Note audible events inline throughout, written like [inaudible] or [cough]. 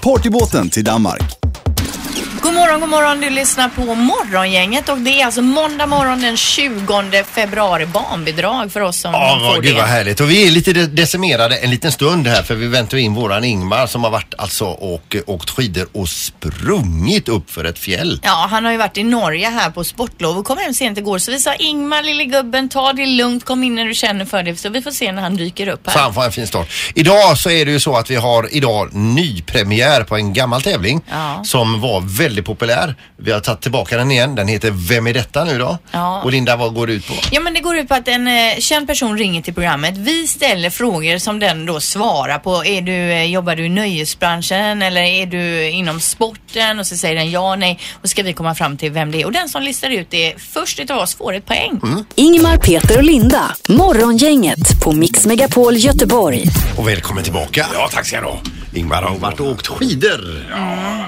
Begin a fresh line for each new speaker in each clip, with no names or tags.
partybåten till Danmark.
God morgon, god morgon. Du lyssnar på Morgongänget och det är alltså måndag morgon den 20 februari. Barnbidrag för oss som
Ja,
får
gud
det.
vad härligt. Och vi är lite de- decimerade en liten stund här för vi väntar in våran Ingmar som har varit alltså och eh, åkt skidor och sprungit upp för ett fjäll.
Ja, han har ju varit i Norge här på sportlov och kom hem sent igår så vi sa Ingmar lille gubben ta det lugnt, kom in när du känner för det så vi får se när han dyker upp
Så
här.
han får en fin start. Idag så är det ju så att vi har idag nypremiär på en gammal tävling
Ja.
som var väldigt populär. Vi har tagit tillbaka den igen. Den heter Vem är detta nu då?
Ja.
Och Linda, vad går det ut på?
Ja men det går ut på att en eh, känd person ringer till programmet. Vi ställer frågor som den då svarar på. Är du, eh, jobbar du i nöjesbranschen eller är du inom sporten? Och så säger den ja, nej. Och ska vi komma fram till vem det är. Och den som listar ut det först utav oss får ett poäng.
Mm.
Ingmar, Peter och Linda. Morgongänget på Mix Megapol Göteborg.
Och välkommen tillbaka.
Ja, tack ska jag ha.
Ingmar har varit och åkt skidor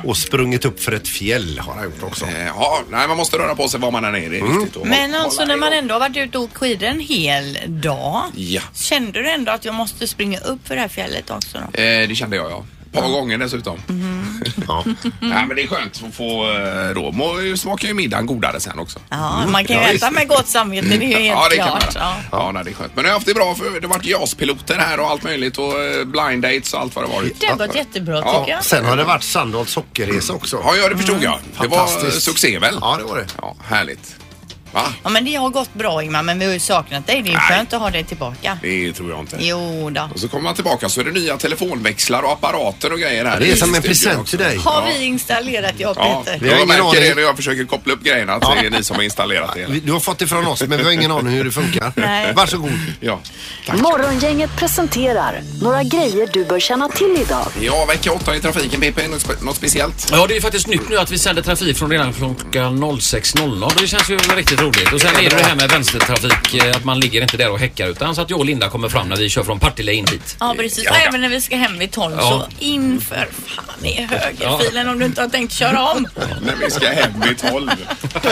och sprungit upp för ett fjäll har han gjort också.
Eh, Ja, nej, man måste röra på sig var man än är. Det är viktigt att
Men
hålla
alltså när man
igång.
ändå har varit ute och åkt skidor en hel dag.
Ja.
Kände du ändå att jag måste springa upp för det här fjället också då?
Eh, det kände jag, ja. Ett par gånger dessutom.
Mm-hmm.
Ja.
nej, men det är skönt att få... eh, Då må- smakar ju middagen godare sen också.
Ja, man kan ju
Mm, Ja,
äta
visst. Mm.
med gott samvete, det är ju helt
ja, det kan man
klart.
göra.
Ja.
ja, nej, det är skönt. Men jag har haft det bra för det har varit JAS-piloter här och allt möjligt och eh, blind dates och allt vad det har varit.
Det har gått jättebra
Ja,
tycker jag.
Sen har det varit Sandholt sockerresa också.
Ja, ja, det förstod jag.
Mm.
Det var eh,
Fantastiskt.
succé väl?
Ja, det var det.
Ja, härligt. Va?
Ja men det har gått bra Ingmar, men vi har ju saknat dig. Det är ju
Nej.
skönt att ha dig tillbaka.
Det tror jag inte.
Jo då.
Och så kommer man tillbaka så är det nya telefonväxlar och apparater och grejer här.
Det är
i
som en
studion
present
också.
till dig.
Har vi installerat jag
Ja,
Peter?
Vi har
jag
ingen
märker
aning.
det när jag försöker koppla upp grejerna att det är ni som har installerat det hela.
Du har fått det från oss men vi har ingen aning hur det funkar.
[laughs] Nej.
Varsågod.
Ja, tack.
Morgongänget presenterar några grejer du bör känna till idag.
Ja, vecka åtta i trafiken PP, något, spe- något speciellt?
Ja, det är faktiskt nytt nu att vi sänder trafik från redan klockan 06.00. Det känns ju riktigt roligt. Och sen är det det här med vänstertrafik, eh, att man ligger inte där och häckar utan så att jag och Linda kommer fram när vi kör från Partille in hit.
Ja precis,
Ja.
och även när vi ska hem vid 12
Ja.
så inför fan i högerfilen om du inte har tänkt köra om.
När vi ska hem vid
[laughs]
tolv. ja,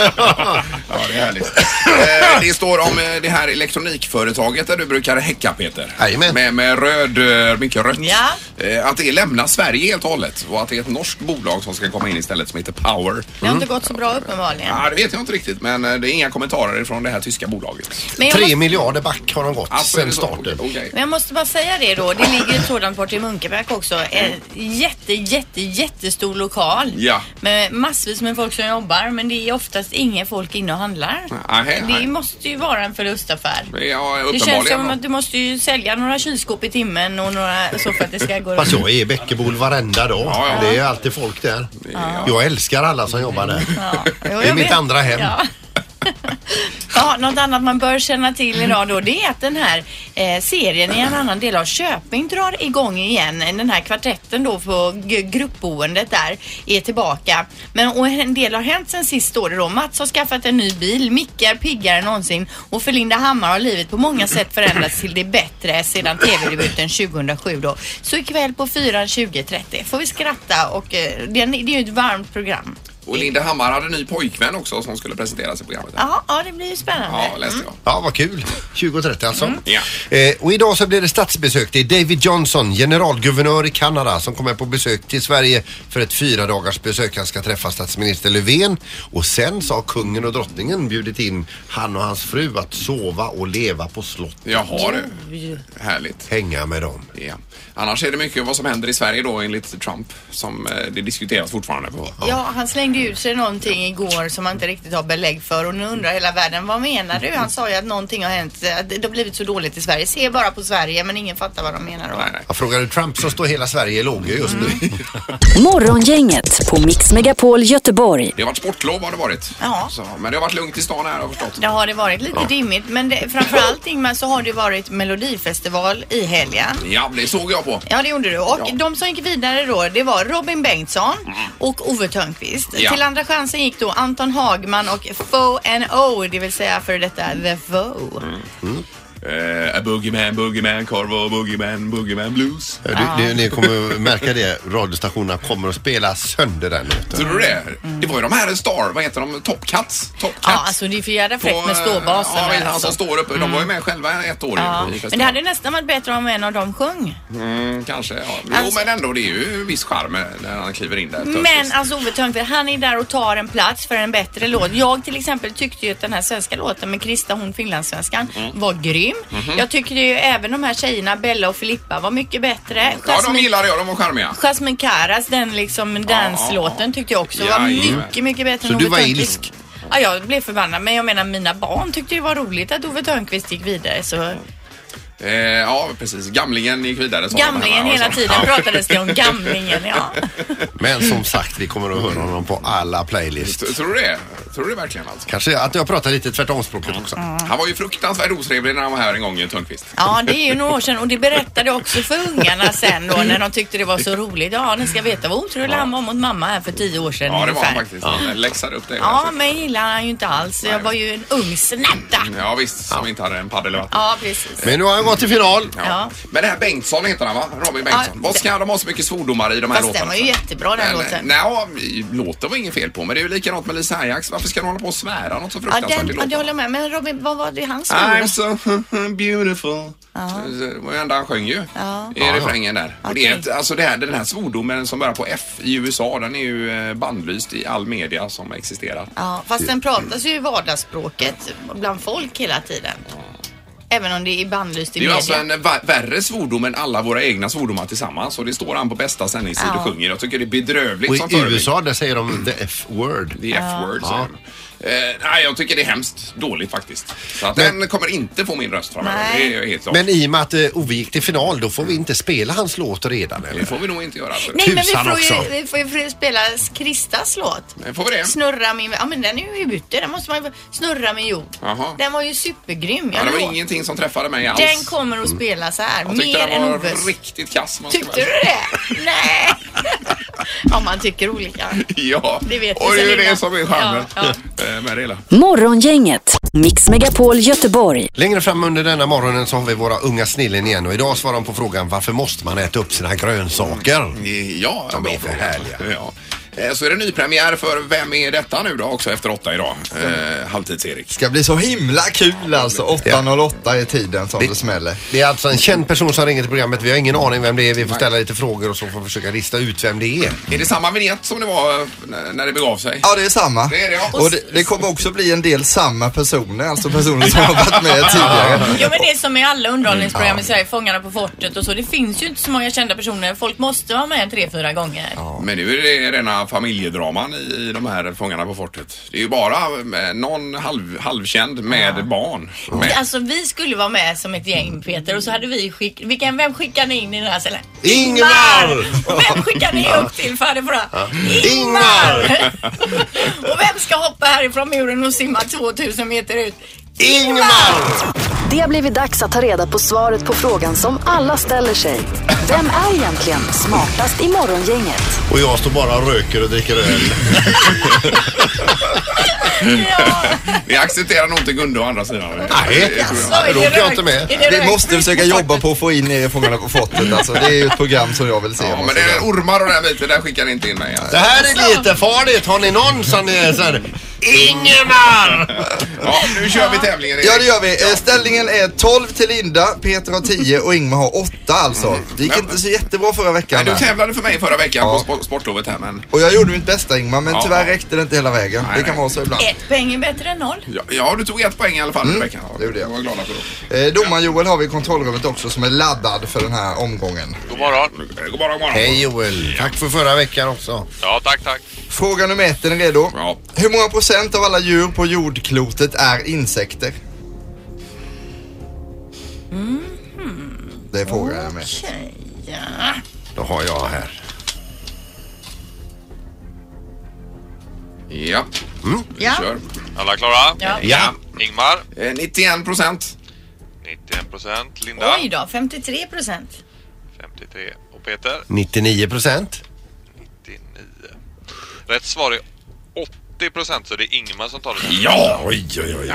det är härligt. Eh, det står om eh, det här elektronikföretaget där du brukar häcka Peter.
Jajamän.
Med, med röd, eh, mycket rött.
Ja.
Eh, att det lämnar Sverige helt och hållet och att det är ett norskt bolag som ska komma in istället som heter Power.
Det har inte gått så bra uppenbarligen.
Ja, det vet jag inte riktigt men eh, det är inga kommentarer från det här tyska bolaget.
Men jag,
Tre
måste,
miljarder back har de gått
Alltså, är
sen
det så?
starten.
Okej.
men jag måste bara säga det då, det ligger ett sådant bort i Munkeberg också. En jätte, jätte, jättestor lokal.
Ja.
Med massvis med folk som jobbar men det är oftast inga folk inne och handlar.
Nej,
Det
nej.
måste ju vara en förlustaffär.
Ja,
Det
uppenbarligen.
känns som att du måste ju sälja några kylskåp i timmen och några så för att det ska gå
Fast
runt.
jag är i Bäckebol varenda dag.
Ja, ja.
Det är alltid folk där. Jag älskar alla som jobbar där.
[laughs] Ja, jo, jag
Det är mitt
vet.
andra hem.
Ja. [laughs] ja, något annat man bör känna till idag då det är att den här eh, serien i en annan del av Köping drar igång igen. Den här kvartetten då på g- gruppboendet där är tillbaka. Men och en del har hänt sen sist står det då. Mats har skaffat en ny bil, Micke är piggare än någonsin och för Linda Hammar har livet på många sätt förändrats till det bättre sedan tv-debuten 2007 då. Så ikväll på 4 20.30 får vi skratta och eh, det är det är ju ett varmt program.
Och Linda Hammar hade en ny pojkvän också som skulle presenteras i programmet.
Ja, ja det blir ju spännande.
Ja, läste jag.
Ja, vad kul. 20.30 alltså.
Ja.
Eh, och idag så blir det statsbesök. Det är David Johnson, generalguvernör i Kanada, som kommer på besök till Sverige för ett fyra dagars besök. Han ska träffa statsminister Löfven och sen så har kungen och drottningen bjudit in han och hans fru att sova och leva på slott.
Jaha du. Härligt.
Hänga med dem.
Ja. Annars är det mycket vad som händer i Sverige då enligt Trump som eh, det diskuteras fortfarande på.
Ja, han slängde slängde ut sig någonting igår som man inte riktigt har belägg för och nu undrar hela världen vad menar du? Han sa ju att någonting har hänt, att det har blivit så dåligt i Sverige. Se bara på Sverige men ingen fattar vad de menar då.
Nej, nej.
Jag frågade Trump så står hela Sverige i lågor just nu.
Morgongänget på Mix Megapol Göteborg.
Det har varit sportlov har det varit.
Ja.
Så, men det har varit lugnt i stan här har jag förstått.
Det har det varit lite dimmigt men det, framför allt Ingmar så har det varit melodifestival i helgen.
Ja, det såg jag på.
Ja, det gjorde du. Och
Ja. Mm.
de som gick vidare då, det var Robin Bengtsson och Ove Thörnqvist.
Ja.
Till andra chansen gick då Anton Hagman och Fo and O, det vill säga för detta The Foe.
Eh, a boogeyman, boogeyman, korvo, boogeyman, boogeyman blues.
Du, det, ni kommer märka det. Radiostationerna kommer att spela sönder den låten.
Tror du det? Det var ju de här Star, vad heter de? Top Cats? Top Cats.
Mm. Ja, alltså det är för jädra fräckt med
På, eh,
ståbasen.
Ja,
där,
han
alltså.
som står uppe. De var ju med själva ett år
Ja.
i
Men det
festivalen.
hade nästan varit bättre om en av dem sjöng.
Mm, kanske, ja. Jo,
Alltså-
men ändå, det är ju en viss charm när han kliver in där.
Men
Törnqvist.
alltså Ove Thörnqvist, han är där och tar en plats för en bättre låt. Jag till exempel tyckte ju att den här svenska låten med Krista, hon finlandssvenskan,
Mm.
var grym.
Mhm.
Jag tyckte ju även de här tjejerna, Bella och Filippa, var mycket bättre.
Ja, de
Jasmine-
gillade jag. De var charmiga.
Jasmine Karas, den liksom danslåten tyckte jag också var
Jajamän.
mycket, mycket bättre
Så
än
du
Ove
var
Thörnqvist.
ilsk?
Ja, jag blev förbannad. Men jag menar mina barn tyckte det var roligt att Ove Thörnqvist gick vidare. Så
Eh, ja, precis. Gamlingen gick vidare. sa de
gamlingen
hemma och
hela
så.
tiden pratades det om gamlingen, ja.
Men som sagt, vi kommer att höra honom på alla playlists.
T- Tror du det? Tror du det verkligen alltså?
Kanske att jag pratar lite tvärtomspråket också.
Han var ju fruktansvärt otrevlig när han var här en gång, ju, Törnqvist.
[laughs] Ja, det är ju några år sedan och det berättade jag också för ungarna sen då när de tyckte det var så roligt. Ja, ni ska veta vad otrolig han var mot mamma här för tio år sedan
Ja, det var
ungefär.
han faktiskt. Han läxade upp det. Alltså.
Ja, men gillade han ju inte alls. Jag
Nej.
var ju en ung snatta.
ja visst, som inte hade en padel i vattnet.
Ja, precis.
Men nu har han gått till final.
Ja.
Men det här Bengtsson heter han va? Robin Bengtsson.
Ja,
Vad ska de ha så mycket svordomar i de här
Fast den
låtarna?
var ju jättebra den låten.
Nej, ja, låten var inget fel på men det är ju likadant med Lisa Ajax. Varför ska de hålla på och svära något så
Ja,
fruktansvärt
den,
i
ja, det håller
låten?
jag med. Men Robin, vad var det han
I'm
svordomar?
so [laughs] beautiful. Det var ju enda han sjöng ju i refrängen där. Och det är ett, alltså det här, den här svordomen som börjar på F i USA den är ju eh, bannlyst i all media som existerar.
Ja, fast den pratas ju i vardagsspråket bland folk hela tiden. Även om det är bannlyst i
Det är ju
media.
alltså en va- värre svordom än alla våra egna svordomar tillsammans och det står han på bästa sändningstid och
Ja.
sjunger. Jag tycker det är bedrövligt
Och i
som förebild.
USA, där säger de the F-word.
The F-word.
Ja.
Ja. nej, jag tycker det är hemskt dåligt faktiskt. Så att
Men-
den kommer inte få min röst framöver.
Nej.
Det är helt klart.
Men i och med att eh, Ove gick till final, då får vi inte spela hans låt redan
det
eller?
får vi nog inte göra. tror
Nej, men vi
Tusan
får,
också.
ju, vi får ju spela Kristas låt.
jag. Får vi det?
Snurra min... Ja, men den är ju ute. Den måste man ju... Snurra min jord.
Jaha.
Den var ju supergrym.
Ja,
Jag
det var
lovar.
ingenting som träffade mig alls.
Den kommer att spelas här.
jag tyckte
Mer
den
än
var
Oves.
riktigt kass. man ska
Tyckte
väl-
du det? [laughs] Nej. ja, man tycker olika.
Ja,
Det vet vi
och det är
sen
ju det
innan.
som är charmen
Ja,
eh, med det hela.
Morgongänget, Mix Megapol Göteborg.
Längre fram under denna morgonen så har vi våra unga snillen igen och idag svarar de på frågan varför måste man äta upp sina
Mm.
grönsaker?
Ja,
De
bra
är för
fråga.
härliga.
Ja. Eh, Så är det nypremiär för Vem är detta nu då också efter åtta idag? Eh, Halvtids-Erik.
ska bli så himla kul alltså. 8.08 är tiden som det smäller.
Det är alltså en känd person som ringer till programmet. Vi har ingen aning vem det är. Vi får ställa lite frågor och så får vi försöka lista ut vem det är.
Är det samma vignett som det var eh, när- när det begav sig?
Ja, det är samma.
Det är det, ja.
Och det, det kommer också bli en del samma personer, alltså personer som har
[laughs]
varit med tidigare.
Jo men det är som i alla underhållningsprogram i Sverige, Fångarna på fortet och så. Det finns ju inte så många kända personer. Folk måste vara med tre, fyra gånger.
Men nu är det rena familjedraman i, i de här Fångarna på fortet. Det är ju bara eh, någon halv, halvkänd med barn. Med.
Alltså vi skulle vara med som ett gäng Peter och så hade vi skick... Vilken, vem skickar ni in i den här cellen?
Ingmar!
Och vem skickar ni upp till för det bra?
Ingmar!
[laughs] och vem ska hoppa härifrån muren och simma 2000 meter ut?
Ingmar!
Det har blivit dags att ta reda på svaret på frågan som alla ställer sig. Vem är egentligen smartast i morgongänget?
Och jag står bara och röker och dricker öl. Mm.
Ja,
[laughs] Vi accepterar nog inte Gunde å andra sidan.
Nej,
Det tror
så
jag.
är
då
det
åker jag
rökt.
inte med.
Är det
Vi
rökt?
måste försöka jobba på att få in er i Fångarna på fortet alltså. Det är ju ett program som jag vill se.
Ja, men det är ormar och den här biten, där skickar ni inte in mig.
Det
Alltså.
här är lite farligt. Har ni någon som är så här... Ingemar!
Ja, nu kör vi tävlingen Erik.
Ja det gör vi. Eh, Ställningen är 12 till Linda, Peter har 10 och Ingmar har 8 alltså. Det gick inte så jättebra förra veckan.
Nej, Du
där.
tävlade för mig förra veckan
Ja.
på spo- sportlovet här men
Och jag gjorde mitt bästa Ingmar men
Ja.
tyvärr räckte det inte hela vägen.
Nej,
Det kan
nej.
vara så ibland.
Ett poäng är bättre än noll.
ja, ja, du tog ett poäng i alla fall förra veckan. Ja,
Mm. det gjorde jag.
var glada för
Eh, Domaren Joel har vi i kontrollrummet också som är laddad för den här omgången.
God morgon.
det. God morgon, god morgon.
Hej Joel. Tack för förra veckan också.
Ja, tack, tack.
Fråga nummer ett, är ni redo?
Ja.
Hur många procent av alla djur på jordklotet är insekter? Det är frågan jag med.
Okej.
Då har jag här.
Ja,
Mm.
vi
Ja.
kör.
Alla klara?
Ja.
Ja.
Ingmar,
Eh, 91 procent.
91 procent. Linda,
Oj då, 53 procent.
53. Och Peter,
99 procent.
99. Rätt svar är 80 procent, så det är Ingmar som tar det.
Ja!
Oj, oj, oj.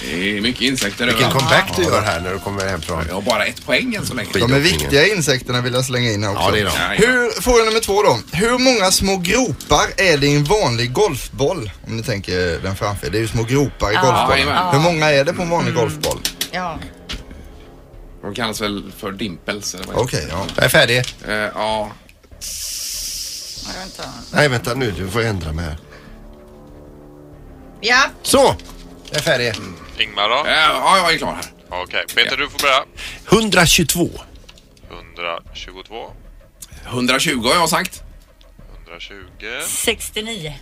Det är mycket insekter
Vilken
överallt.
comeback du gör här när du kommer hem från.
Jag har bara ett poäng än så länge.
De är viktiga insekterna vill jag slänga in här också.
Ja, det är de.
Hur, fråga nummer två då. Hur många små gropar är det i en vanlig golfboll? Om ni tänker den framför er. Det är ju små gropar i golfbollen.
jajamän.
Hur många är det på en vanlig
Mm.
golfboll?
Ja.
De kallas väl för dimpels eller vad heter
Okej, ja.
Jag är färdig.
det? Eh, Ja,
Ja, vänta.
Nej, vänta nu. Du får ändra mig här.
Ja,
Så! Jag är färdig.
Ingmar då?
Eh, ja, jag är klar här.
Okej, Peter du får börja.
122.
122,
120 har jag sagt.
120.
69.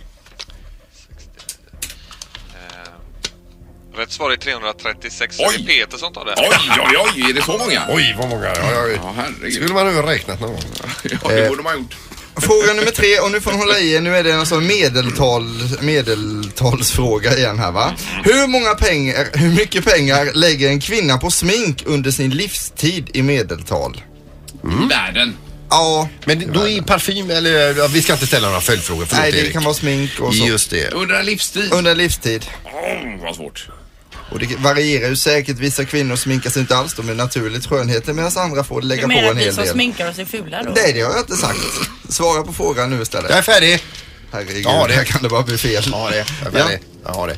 Rätt svar är 336, så
Oj.
det är Peter som tar det.
Oj, oj, oj, är det så många?
Oj, vad många. Ja, ja,
Ja,
ja. Skulle
herregud.
man ha räknat någon gång?
Ja, det borde man ha gjort.
Fråga nummer tre, och nu får ni hålla i er, nu är det en sån medeltal, medeltalsfråga igen här va. Hur många pengar, hur mycket pengar lägger en kvinna på smink under sin livstid i medeltal?
Mm. Världen.
Ja,
Men då är parfym eller... ja, Vi ska inte ställa några följdfrågor. Förlåt,
nej det
Erik.
kan vara smink och så.
Just det.
Under en livstid.
Under en livstid.
Oh, vad svårt.
Och det varierar ju säkert, vissa kvinnor sminkar sig inte alls, de är naturligt skönheter medan andra får lägga
Du
på
menar att
en
vi
hel
som
del.
sminkar oss är fula då?
Nej det har jag inte sagt. Svara på frågan nu istället.
Jag är färdig.
Herregud,
Ja, det-
här kan det bara bli fel.
Ja, det. Jag är färdig. Jag har det.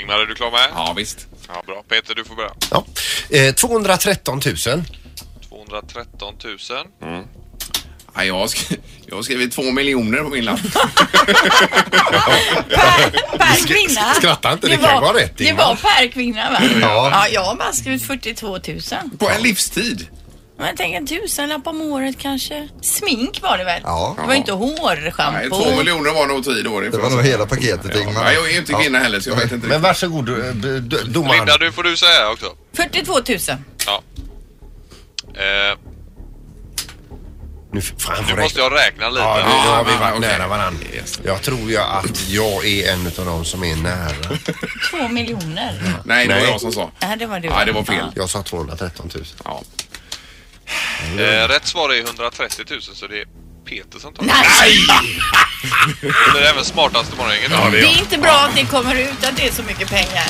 Ingmar är du klar med?
Ja, visst.
Ja, bra. Peter du får börja.
Ja. Eh, 213 000.
213 000.
Ja, jag, har sk- jag har skrivit två miljoner på min lapp.
Per, per kvinna.
skratta inte, det kan vara rätt,
Det
Ingmar.
var per kvinna va?
Ja.
ja jag har bara skrivit 42 000.
På en livstid.
Men jag tänker en tusenlapp om året kanske. Smink var det väl?
Ja.
Det var ju inte
Nej, två
hårschampo.
miljoner var nog tid då.
Det var nog hela paketet Ingmar.
Nej, jag är ju inte kvinna heller så jag vet inte.
Men
Men...
varsågod eh, b- d- domaren.
Linda, du får du säga också.
42 000.
Ja. Eh,
Nu f- fan,
nu
får
måste jag räkna lite.
Ja, nu, nu har vi
Ja,
varit
okej.
nära varandra. Jag tror jag att jag är en av de som är nära.
Två miljoner.
Nej, det var
Nej.
jag som sa.
Nej, det var du.
Ja, det var fel.
Jag sa 213 000.
Ja.
Eh, rätt svar är 130 000 så det är Peter som tar det.
Nej!
[laughs] Det är även smartaste morgongänget.
Det är inte bra att det kommer ut att det är så mycket pengar.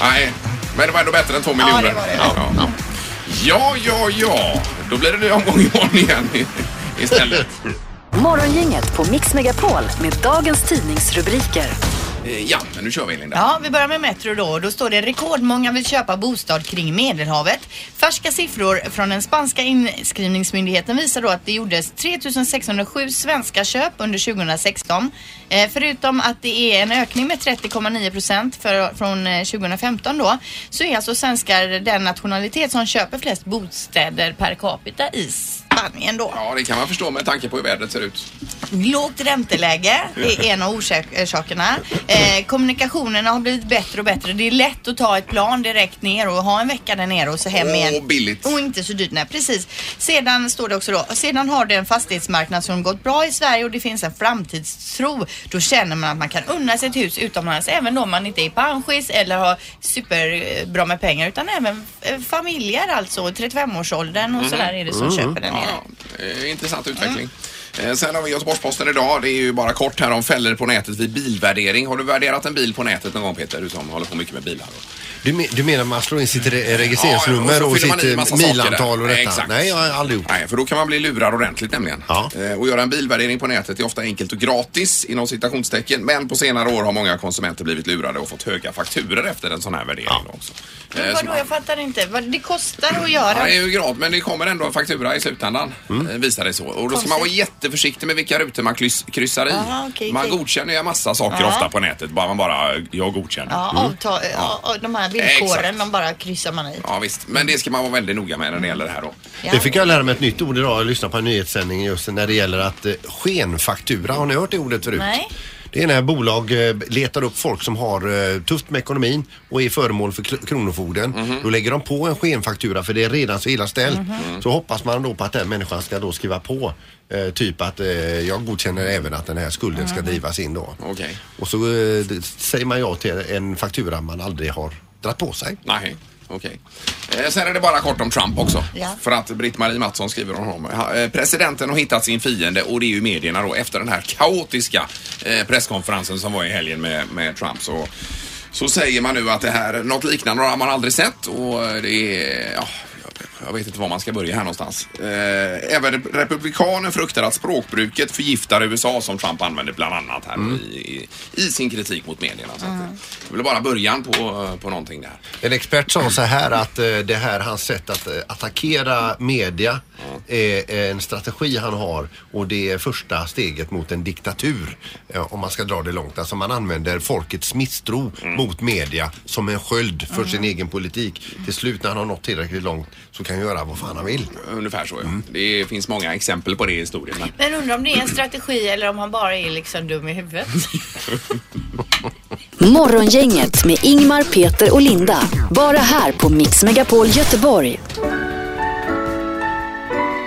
Nej, men det var ändå bättre än två miljoner.
det var det.
Ja, ja. ja, ja, ja. Då blir det en ny omgång imorgon igen i- istället.
Morgongänget på Mix Megapol med dagens tidningsrubriker.
Eh, Ja, men nu kör vi Linda.
Ja, vi börjar med Metro då. Då står det rekordmånga vill köpa bostad kring Medelhavet. Färska siffror från den spanska inskrivningsmyndigheten visar då att det gjordes 3607 svenska köp under 2016. Eh, förutom att det är en ökning med 30,9 procent för- från eh, 2015 då, så är alltså svenskar den nationalitet som köper flest bostäder per capita i Spanien då.
Ja, det kan man förstå med tanke på hur vädret ser ut.
Lågt ränteläge är en av orsak- orsakerna. Eh, kommunikationerna har blivit bättre och bättre. Det är lätt att ta ett plan direkt ner och ha en vecka där nere och så hem igen. Mm.
Och billigt.
Och inte så dyrt, nej precis. Sedan står det också då, sedan har det en fastighetsmarknad som gått bra i Sverige och det finns en framtidstro. Då känner man att man kan unna sig ett hus utomlands även om man inte är panschis eller har superbra med pengar utan även eh, familjer alltså, 35-årsåldern och sådär är det som köper den nere.
Ja, eh, intressant utveckling.
Mm.
Eh, Sen har vi Göteborgs-Posten idag. Det är ju bara kort här om fällor på nätet vid bilvärdering. Har du värderat en bil på nätet någon gång Peter? Du som håller på mycket med bilar.
Du, men- du menar man slår in sitt re- registreringsnummer
så
och,
fyller man i massa
sitt eh,
saker
milantal
där.
och detta?
Exakt.
Nej, jag har aldrig gjort det.
Nej, för då kan man bli lurad ordentligt nämligen.
Ja.
Eh, Och göra en bilvärdering på nätet är ofta enkelt och gratis inom citationstecken. Men på senare år har många konsumenter blivit lurade och fått höga fakturer efter en sån här värdering. då Också. Eh,
Men
så man-
vadå, jag fattar inte. Vad- Det kostar att göra
Ja, det är ju gratis, men det kommer ändå en faktura i slutändan. eh, Visar det så. Och då ska man vara jätte jätteförsiktig med vilka rutor man kryss, kryssar i.
Aha, okej,
man
okej.
godkänner ju en massa saker
Ja.
ofta på nätet. Bara man bara, eh, jag godkänner.
Ja,
Mm.
avtal, ja. och de här
Exakt.
villkoren, de bara kryssar man i.
Ja visst, men det ska man vara väldigt noga med när det gäller det här då.
Ja.
Det fick jag lära mig ett nytt ord idag. Jag lyssnade på en nyhetssändning just när det gäller att eh, skenfaktura. Har ni hört det ordet förut?
Nej.
Det är när bolag eh, letar upp folk som har eh, tufft med ekonomin och är föremål för kl- Kronofogden. Då lägger de på en skenfaktura för det är redan så illa ställt.
Mhm.
Så hoppas man då på att den människan ska då skriva på eh, typ att eh, jag godkänner även att den här skulden
Mhm.
ska drivas in då.
Okej.
Och så eh, det- säger man ja till en faktura man aldrig har dragit på sig.
Nej, okej. Eh, Sen är det bara kort om Trump också.
Ja.
För att Britt-Marie Mattsson skriver om honom. Ha- eh, Presidenten har hittat sin fiende och det är ju medierna då efter den här kaotiska eh, presskonferensen som var i helgen med, med Trump. Så, så säger man nu att det här, något liknande har man aldrig sett och eh, det är, ja, jag vet inte var man ska börja här någonstans. Eh, även republikaner fruktar att språkbruket förgiftar USA som Trump använder bland annat här i, i, i sin kritik mot medierna. Så att, det är väl bara början på, på någonting där.
En expert sa så här att eh, det här hans sätt att eh, attackera media eh, är en strategi han har och det är första steget mot en diktatur eh, om man ska dra det långt. Alltså man använder folkets misstro mot media som en sköld för sin egen politik. Till slut när han har nått tillräckligt långt så kan han göra vad fan han vill.
Ungefär så ja. Det finns många exempel på det i historien. Men...
Men undrar om det är en strategi eller om han bara är liksom dum i huvudet.
Morgongänget med Ingmar, Peter och Linda. Bara här på Mix Megapol Göteborg.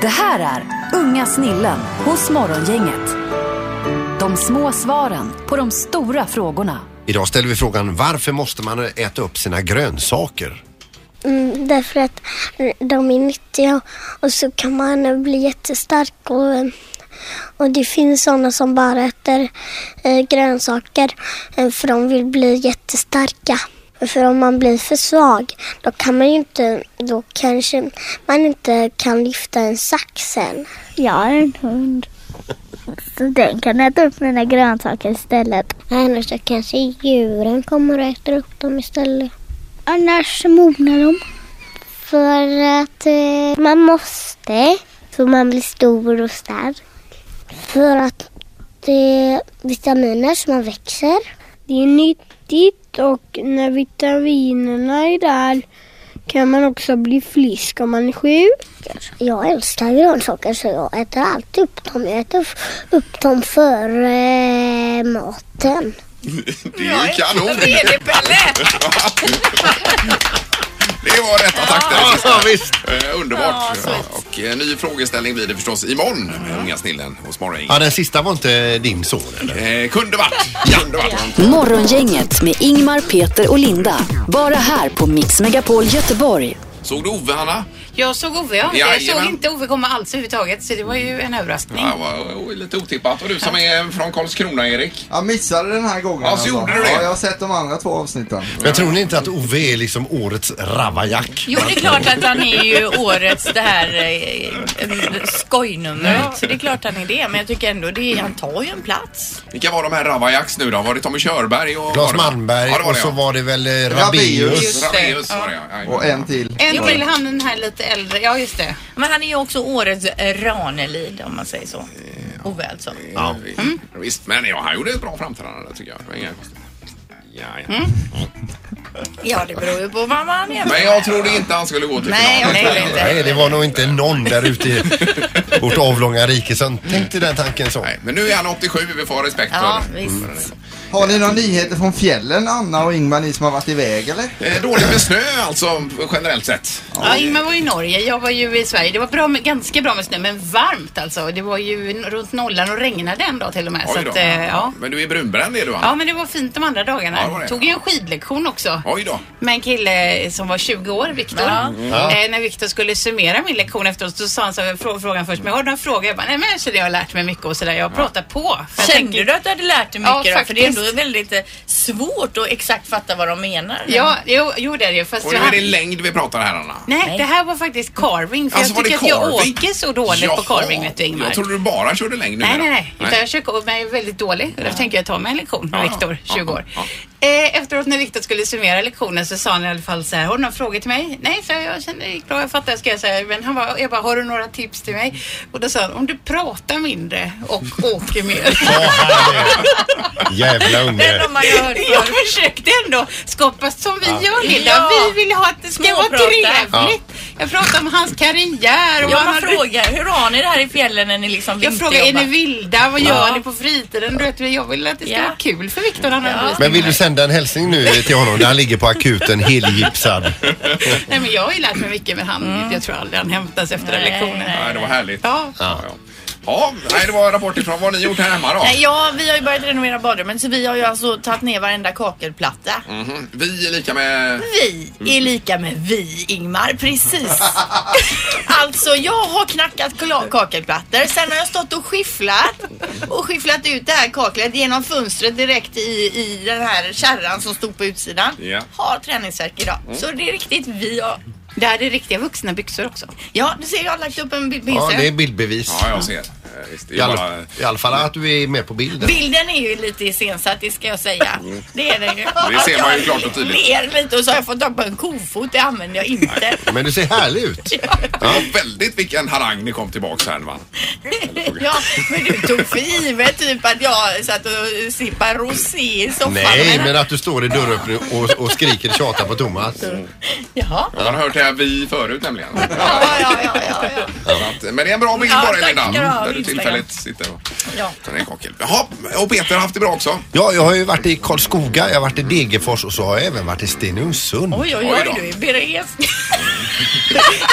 Det här är Unga snillen hos Morgongänget. De små svaren på de stora frågorna.
Idag ställer vi frågan varför måste man äta upp sina grönsaker?
Mm, därför att eh, de är nyttiga och så kan man eh, bli jättestark. Och, eh, och det finns sådana som bara äter eh, grönsaker eh, för de vill bli jättestarka. För om man blir för svag då kan man ju inte, då kanske man inte kan lyfta en sax sen. Jag har en hund. Så den kan äta upp mina grönsaker istället. Annars så kanske djuren kommer och äter upp dem istället. Annars mognar de. För att eh, man måste. Så man blir stor och stark. För att det är vitaminer som man växer. Det är nyttigt och när vitaminerna är där kan man också bli frisk om man är sjuk. Jag älskar grönsaker så jag äter alltid upp dem. Jag äter upp dem före eh, maten.
Det är ju [laughs] kanon!
Vad är det Pelle?
Det var rätt attack där.
Ja, visst.
Eh, underbart! Ja, och eh, ny frågeställning blir det förstås imorgon med Unga snillen hos
Ja,
Morgongänget.
den sista var inte din son eller?
Eh, kunde varit! Kunde varit.
Morgongänget med Ingmar, Peter och Linda. Bara här på Mix Megapol Göteborg.
Såg du Ove, Hanna?
Jag såg Ove, ja. jag
Jajamän.
såg inte Ove komma alls överhuvudtaget så det var ju en överraskning.
Ja, var, oh, lite otippat. Och du som är från Karlskrona, Erik?
Jag missade den här gången.
Ja, så gjorde du det.
Ja, jag har sett de andra två avsnitten.
Jag tror ni inte att Ove är liksom årets ravajack?
Jo, det är klart att han är ju årets det här eh, skojnumret. Det är klart han är det, men jag tycker ändå det, han tar ju en plats.
Vilka var de här Ravajaks nu då? Var det Tommy Körberg och...
Claes
var det-
Malmberg
Ja, det var
och
det,
så
ja.
var det väl eh,
Rabaeus.
Rabaeus.
Just det.
Rabaeus var det, ja. Jajamän.
Och en till.
En till han den här lite äldre. Ja, just det.
Men han är ju också årets Ranelid om man säger så. Ove alltså.
Ja.
Mm.
Visst, men ja, han gjorde ett bra framträdande tycker jag. Det var inga konstigheter. Ja, ja.
Mm.
Ja, det beror ju på vad man är.
Men jag trodde inte han skulle gå till
Nej,
final.
nej, nej, nej.
Nej, det var nog inte någon där ute i [laughs] vårt avlånga rike som tänkte den tanken så.
Nej, men nu är han 87, vi får ha respekt
Ja,
för det. Mm.
visst.
Har ni några nyheter från fjällen, Anna och Ingmar, ni som har varit iväg eller?
Eh, Dåligt med snö alltså generellt sett.
Ja, Ingmar var ju i Norge, jag var ju i Sverige. Det var bra med, ganska bra med snö, men varmt alltså. Det var ju n- runt nollan och regnade en dag till och med. Så
Oj då.
att, eh, ja.
Men du är brunbränd är du
ja,
Anna?
men det var fint de andra dagarna.
Ja, det var det.
Tog ju en skidlektion också.
Oj då.
Med en kille som var 20 år, Viktor.
Mm.
Eh, när Viktor skulle summera min lektion efteråt så sa han så här, frå- frågan först, men har du någon fråga? Jag bara, nej men jag känner jag har lärt mig mycket och sådär. Jag pratar på. För jag
Kände
tänker-
du att du hade lärt dig mycket
Ja,
då? För det är
faktiskt.
ändå väldigt eh, svårt att exakt fatta vad de menar.
Ja, jo, jo det är det ju. Fast
Och nu
jag
är det
hade-
längd vi pratar här Anna.
Nej, det här var faktiskt carving. För
Alltså, var
jag
det
tycker att jag
carving?
åker så dåligt på carving, vet du Ingmar.
Jag trodde du bara körde längd nu.
Nej, nej, nej. Utan jag försöker, men jag är väldigt dålig. Därför tänker jag ta mig en lektion med
Ja,
Viktor,
ja,
20 år.
ja,
Eh, efteråt när Viktor skulle summera lektionen så sa han i alla fall så här, har du några frågor till mig? Nej, så jag, jag känner det gick bra, jag fattar, ska jag säga. Men han bara, jag bara, har du några tips till mig? Och då sa han, om du pratar mindre
[laughs]
och åker mer. [laughs]
Jävla unge.
jag försökte ändå skapa som vi
Ja.
gör Linda.
Ja.
Vi vill ha att det ska vara
Småprata.
trevligt. Jag pratar om hans karriär.
Ja,
vad
man
han-
frågar, hur har ni det här i fjällen när ni liksom
Jag frågar, är ni
vinterjobbar?
vilda? Vad gör
Ja.
ni på fritiden? Du vet, jag vill att det ska
Ja.
vara kul för Viktor. Han har undervisning.
Men vill du sända en hälsning nu till honom när han ligger på akuten helgipsad?
Nej, men jag har ju lärt mig mycket med han.
Mm.
Jag tror aldrig han hämtas efter den lektionen.
Nej, det var härligt.
Ja.
Ja, ja. ja nej, det var rapporter från vad har ni gjort här hemma då?
Nej, ja, vi har ju börjat renovera badrummen så vi har ju alltså tagit ner varenda kakelplatta.
Mhm. Vi är lika med...
Vi är lika med vi, Ingmar. [laughs] Precis. alltså, jag har knackat kla- kakelplattor. Sen har jag stått och skifflat och skifflat ut det här kaklet genom fönstret direkt i, i den här kärran som stod på utsidan.
Ja.
Har träningsvärk idag.
Mm.
Så det är riktigt vi har...
Det här är riktiga vuxna byxor också.
Ja, du ser, jag har lagt upp en bild på
Ja,
Instagram.
det är bildbevis.
Ja, jag ser. Eh,
I alla, I alla fall att du är med på bilden.
Bilden är ju lite iscensatt, det ska jag säga. Det är den ju.
Mm. Det ser man ju klart och tydligt.
Ler lite och så har jag fått tag på en kofot, det använder jag inte.
Men du ser härlig ut.
Det var väldigt vilken harang ni kom tillbaks här va?
ja, men du tog för givet typ att jag satt och sippade rosé i soffan.
Nej, men att du står i dörröppningen och, och skriker och tjatar på Thomas.
Jaha.
Man har hört det här vi förut nämligen. Ja, ja, ja, Så att, eh, men det är en bra bild
Ja,
bara
tack
Linda.
ska du ha,
Där du
Instagram.
tillfälligt sitter och
Ja.
tar en kakel. Jaha, och Peter har haft det bra också.
Ja, jag har ju varit i Karlskoga, jag har varit i Degerfors och så har jag även varit i Stenungsund.
Oj, oj, oj, du är berest.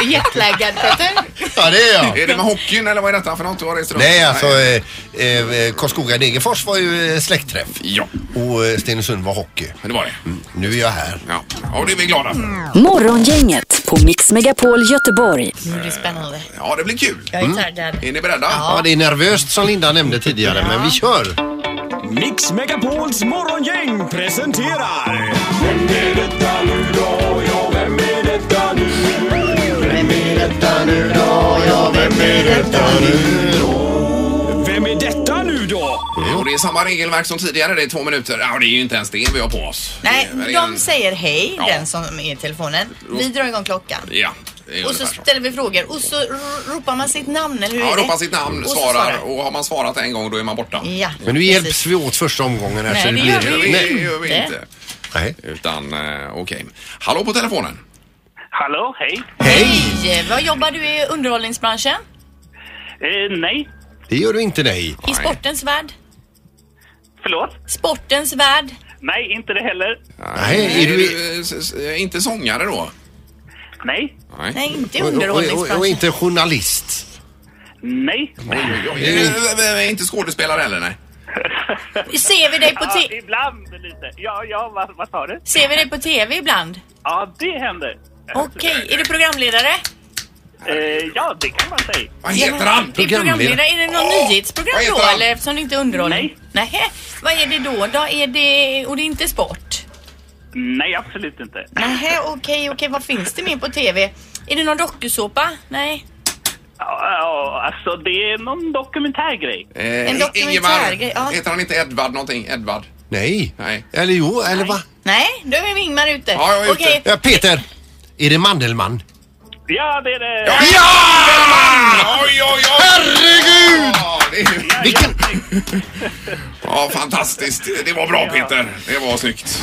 Jetlaggad, Peter.
Ja, det är jag.
Är det med hockeyn eller vad är detta för något du har rest runt?
Nej, alltså eh, eh, Karlskoga Degerfors var ju eh, släktträff.
Ja.
Och eh, Stenungsund var hockey.
Det var det.
Mm.
Nu är jag här.
Ja, och det är vi glada för.
Morgongänget på Mix Megapol Göteborg.
Nu är Mm, det spännande.
Ja, det blir kul.
Mm.
Jag är taggad.
Är ni beredda?
Ja, det är nervöst som Linda nämnde tidigare, men vi kör.
Mix Megapols morgongäng presenterar... Vem är detta nu då? Ja, vem är detta nu? Vem är detta nu då? Ja, vem är detta nu då? Vem är detta nu då?
Och det är samma regelverk som tidigare. Det är två minuter. Ja, det är ju inte ens det vi har på oss.
Nej,
Det är en-
de säger hej, den som är i telefonen. Vi drar igång klockan.
Ja, det är
Och så
ungefär så.
ställer vi frågor och så r- ropar man sitt namn, eller hur
Ja,
är det?
ropar sitt namn,
Och så
svarar och har man svarat en gång då är man borta.
Ja.
Men nu hjälps vi åt första omgången här.
Nej,
så
det
blir-
gör vi ju
Nej.
Det gör vi
Det.
inte.
Nej.
Utan, eh, okej. Hallå på telefonen.
Hallå, hej.
Hej! Vad jobbar du i underhållningsbranschen?
Eh, nej.
Det gör du inte, nej.
I sportens värld?
Förlåt?
Sportens värld?
Nej, inte det heller.
Nej, är du...
Eh, s- s- eh, Inte sångare då?
Nej.
Nej,
Och,
inte
och, och, och
underhållningsbranschen.
inte journalist.
Nej.
Eh, Inte skådespelare heller, nej.
Ser vi dig på
Ja,
te-
ibland lite. Ja, ja, vad, vad sa du?
Ser vi dig på TV ibland?
Ja, det händer.
Okej, är du programledare?
Eh, ja, det kan man säga.
Vad heter han?
Är, programledare? är det något nyhetsprogram
vad heter
då
han?
eller eftersom det inte är underhållning? Nej. Vad är det då? då är det... Och det är inte sport?
Nej, absolut inte.
Nej, okej, okej. Vad finns det mer på TV? Är det någon dokusåpa? Nej.
Ja, ja, alltså, det är någon dokumentärgrej.
Eh,
En dokumentär-
Ingemar,
ja.
heter han inte Edvard någonting? Edvard?
Nej.
Nej.
Eller jo, eller va?
Nej, då är vi Ingmar ute.
Ja, jag är ute.
Okej.
Ja, Peter, är det Mandelmann?
Ja, det är det.
Ja! Oj, oj, oj!
Herregud!
Ja, det är ju...
Vilken...
Ja, fantastiskt. Det var bra Peter. Det var snyggt.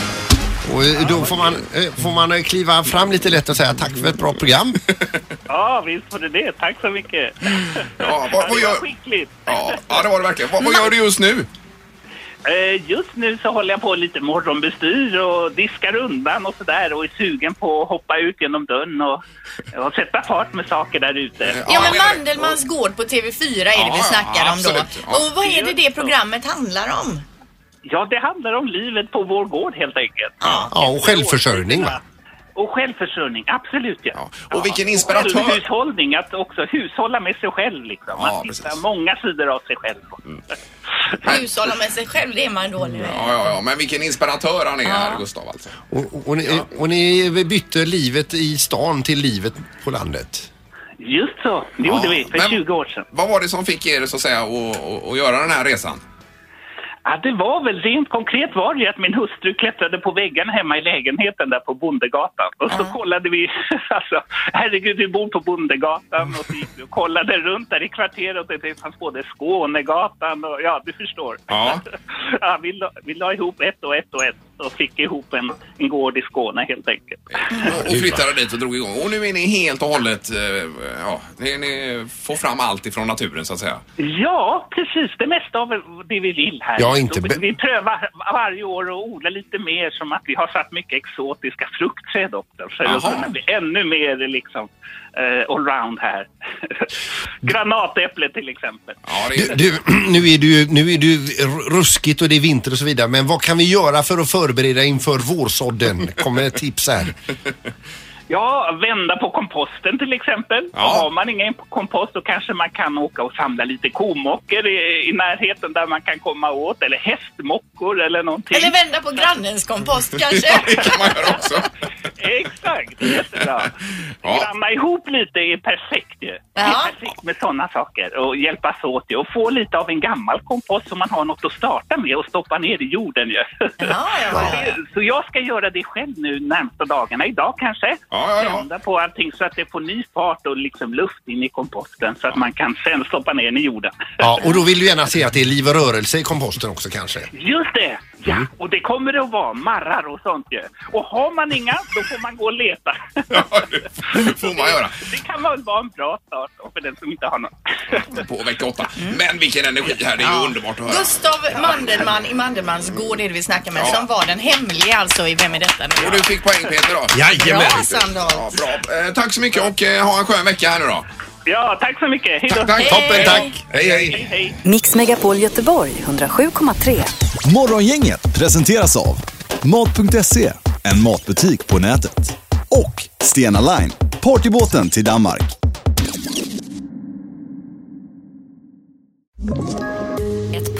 Och eh, då får man, eh, får man eh, kliva fram lite lätt och säga tack för ett bra program.
Ja, visst var det det. Tack så mycket.
Ja, vad, vad
det var
gör...
skickligt.
Ja, ja, det var det verkligen. Vad, vad gör du just nu?
Eh, Just nu så håller jag på lite morgonbestyr och diskar undan och sådär och är sugen på att hoppa ut genom dörren och, och sätta fart med saker där ute.
Ja, men Mandelmans gård på TV4 är det
Ja,
vi snackar
ja,
om då.
absolut, ja.
Och vad är det det programmet handlar om?
Ja, det handlar om livet på vår gård helt enkelt.
Ja, och självförsörjning va?
Och självförsörjning, absolut ja.
Och vilken inspiratör.
Och hushållning, att också hushålla med sig själv liksom.
Ja,
att hitta
precis.
många sidor av sig själv.
Hushålla med sig själv, det är man dålig med.
Ja, ja, ja, men vilken inspiratör han är, här, Gustav alltså.
Och, och, ni, och ni bytte livet i stan till livet på landet.
Just så, det gjorde
Ja,
vi för
men-
20 år sedan.
Vad var det som fick er så att säga att, att, att göra den här resan?
Ja, det var väl rent konkret var det ju att min hustru klättrade på väggarna hemma i lägenheten där på Bondegatan. Och så kollade vi, alltså herregud vi bor på Bondegatan och så gick vi och kollade runt där i kvarteret och det fanns både Skånegatan och ja, du förstår.
Ja.
[laughs] Ja, vi, la, vi la ihop ett och ett och ett och fick ihop en, en gård i Skåne helt enkelt.
Och flyttade dit och drog igång. Och nu är ni helt och hållet, eh, ja, ni, ni får fram allt ifrån naturen så att säga.
Ja, precis. Det mesta av det vi vill här.
Jag är inte
vi,
be-
vi prövar varje år att odla lite mer som att vi har satt mycket exotiska fruktträd upp där för att
Jaha.
kunna bli ännu mer liksom eh, allround här. [laughs] Granatäpple till exempel.
Du, du, [clears throat] nu, är du, nu är du ruskigt och det är vinter och så vidare men vad kan vi göra för att förbereda inför vårsådden? Kommer ett tips här.
Ja, vända på komposten till exempel.
Ja.
Och Har man ingen kompost så kanske man kan åka och samla lite komockor i, i närheten där man kan komma åt. Eller hästmockor eller någonting.
Eller vända på grannens kompost kanske.
[laughs] Exakt, jättebra. Gramma ihop lite är perfekt ju. Det är perfekt med sådana saker och hjälpas åt ju. Och få lite av en gammal kompost som man har något att starta med och stoppa ner i jorden ju. Så jag ska göra det själv nu närmsta dagarna, idag kanske.
Ja,
Vända på allting så att det får ny fart och liksom luft in i komposten så att man kan sen stoppa ner den i jorden.
Ja, och då vill du gärna se att det är liv och rörelse i komposten också kanske.
Just det! Ja,
Mm.
och det kommer det att vara. Marrar och sånt ju. Och har man inga, då får man gå och leta.
får man göra.
Det kan väl vara en bra start då, för den som inte har någon.
På vecka åtta. Men vilken energi här, det är ju underbart att höra.
Gustav Mandelmann i Mandelmanns gård är det vi snackar med som var den hemliga alltså i Vem är detta nu?
Och du fick poäng Peter då?
Jajamän. Bra, Sandholt.
Ja, bra. Eh, tack så mycket och eh, ha en skön vecka här nu då.
Ja, tack så mycket. Hej då.
Tack, tack. Toppen, tack. Hej, hej.
Mix Megapol Göteborg 107,3.
Morgongänget presenteras av Mat.se, en matbutik på nätet. Och Stena Line, partybåten till Danmark.
Ett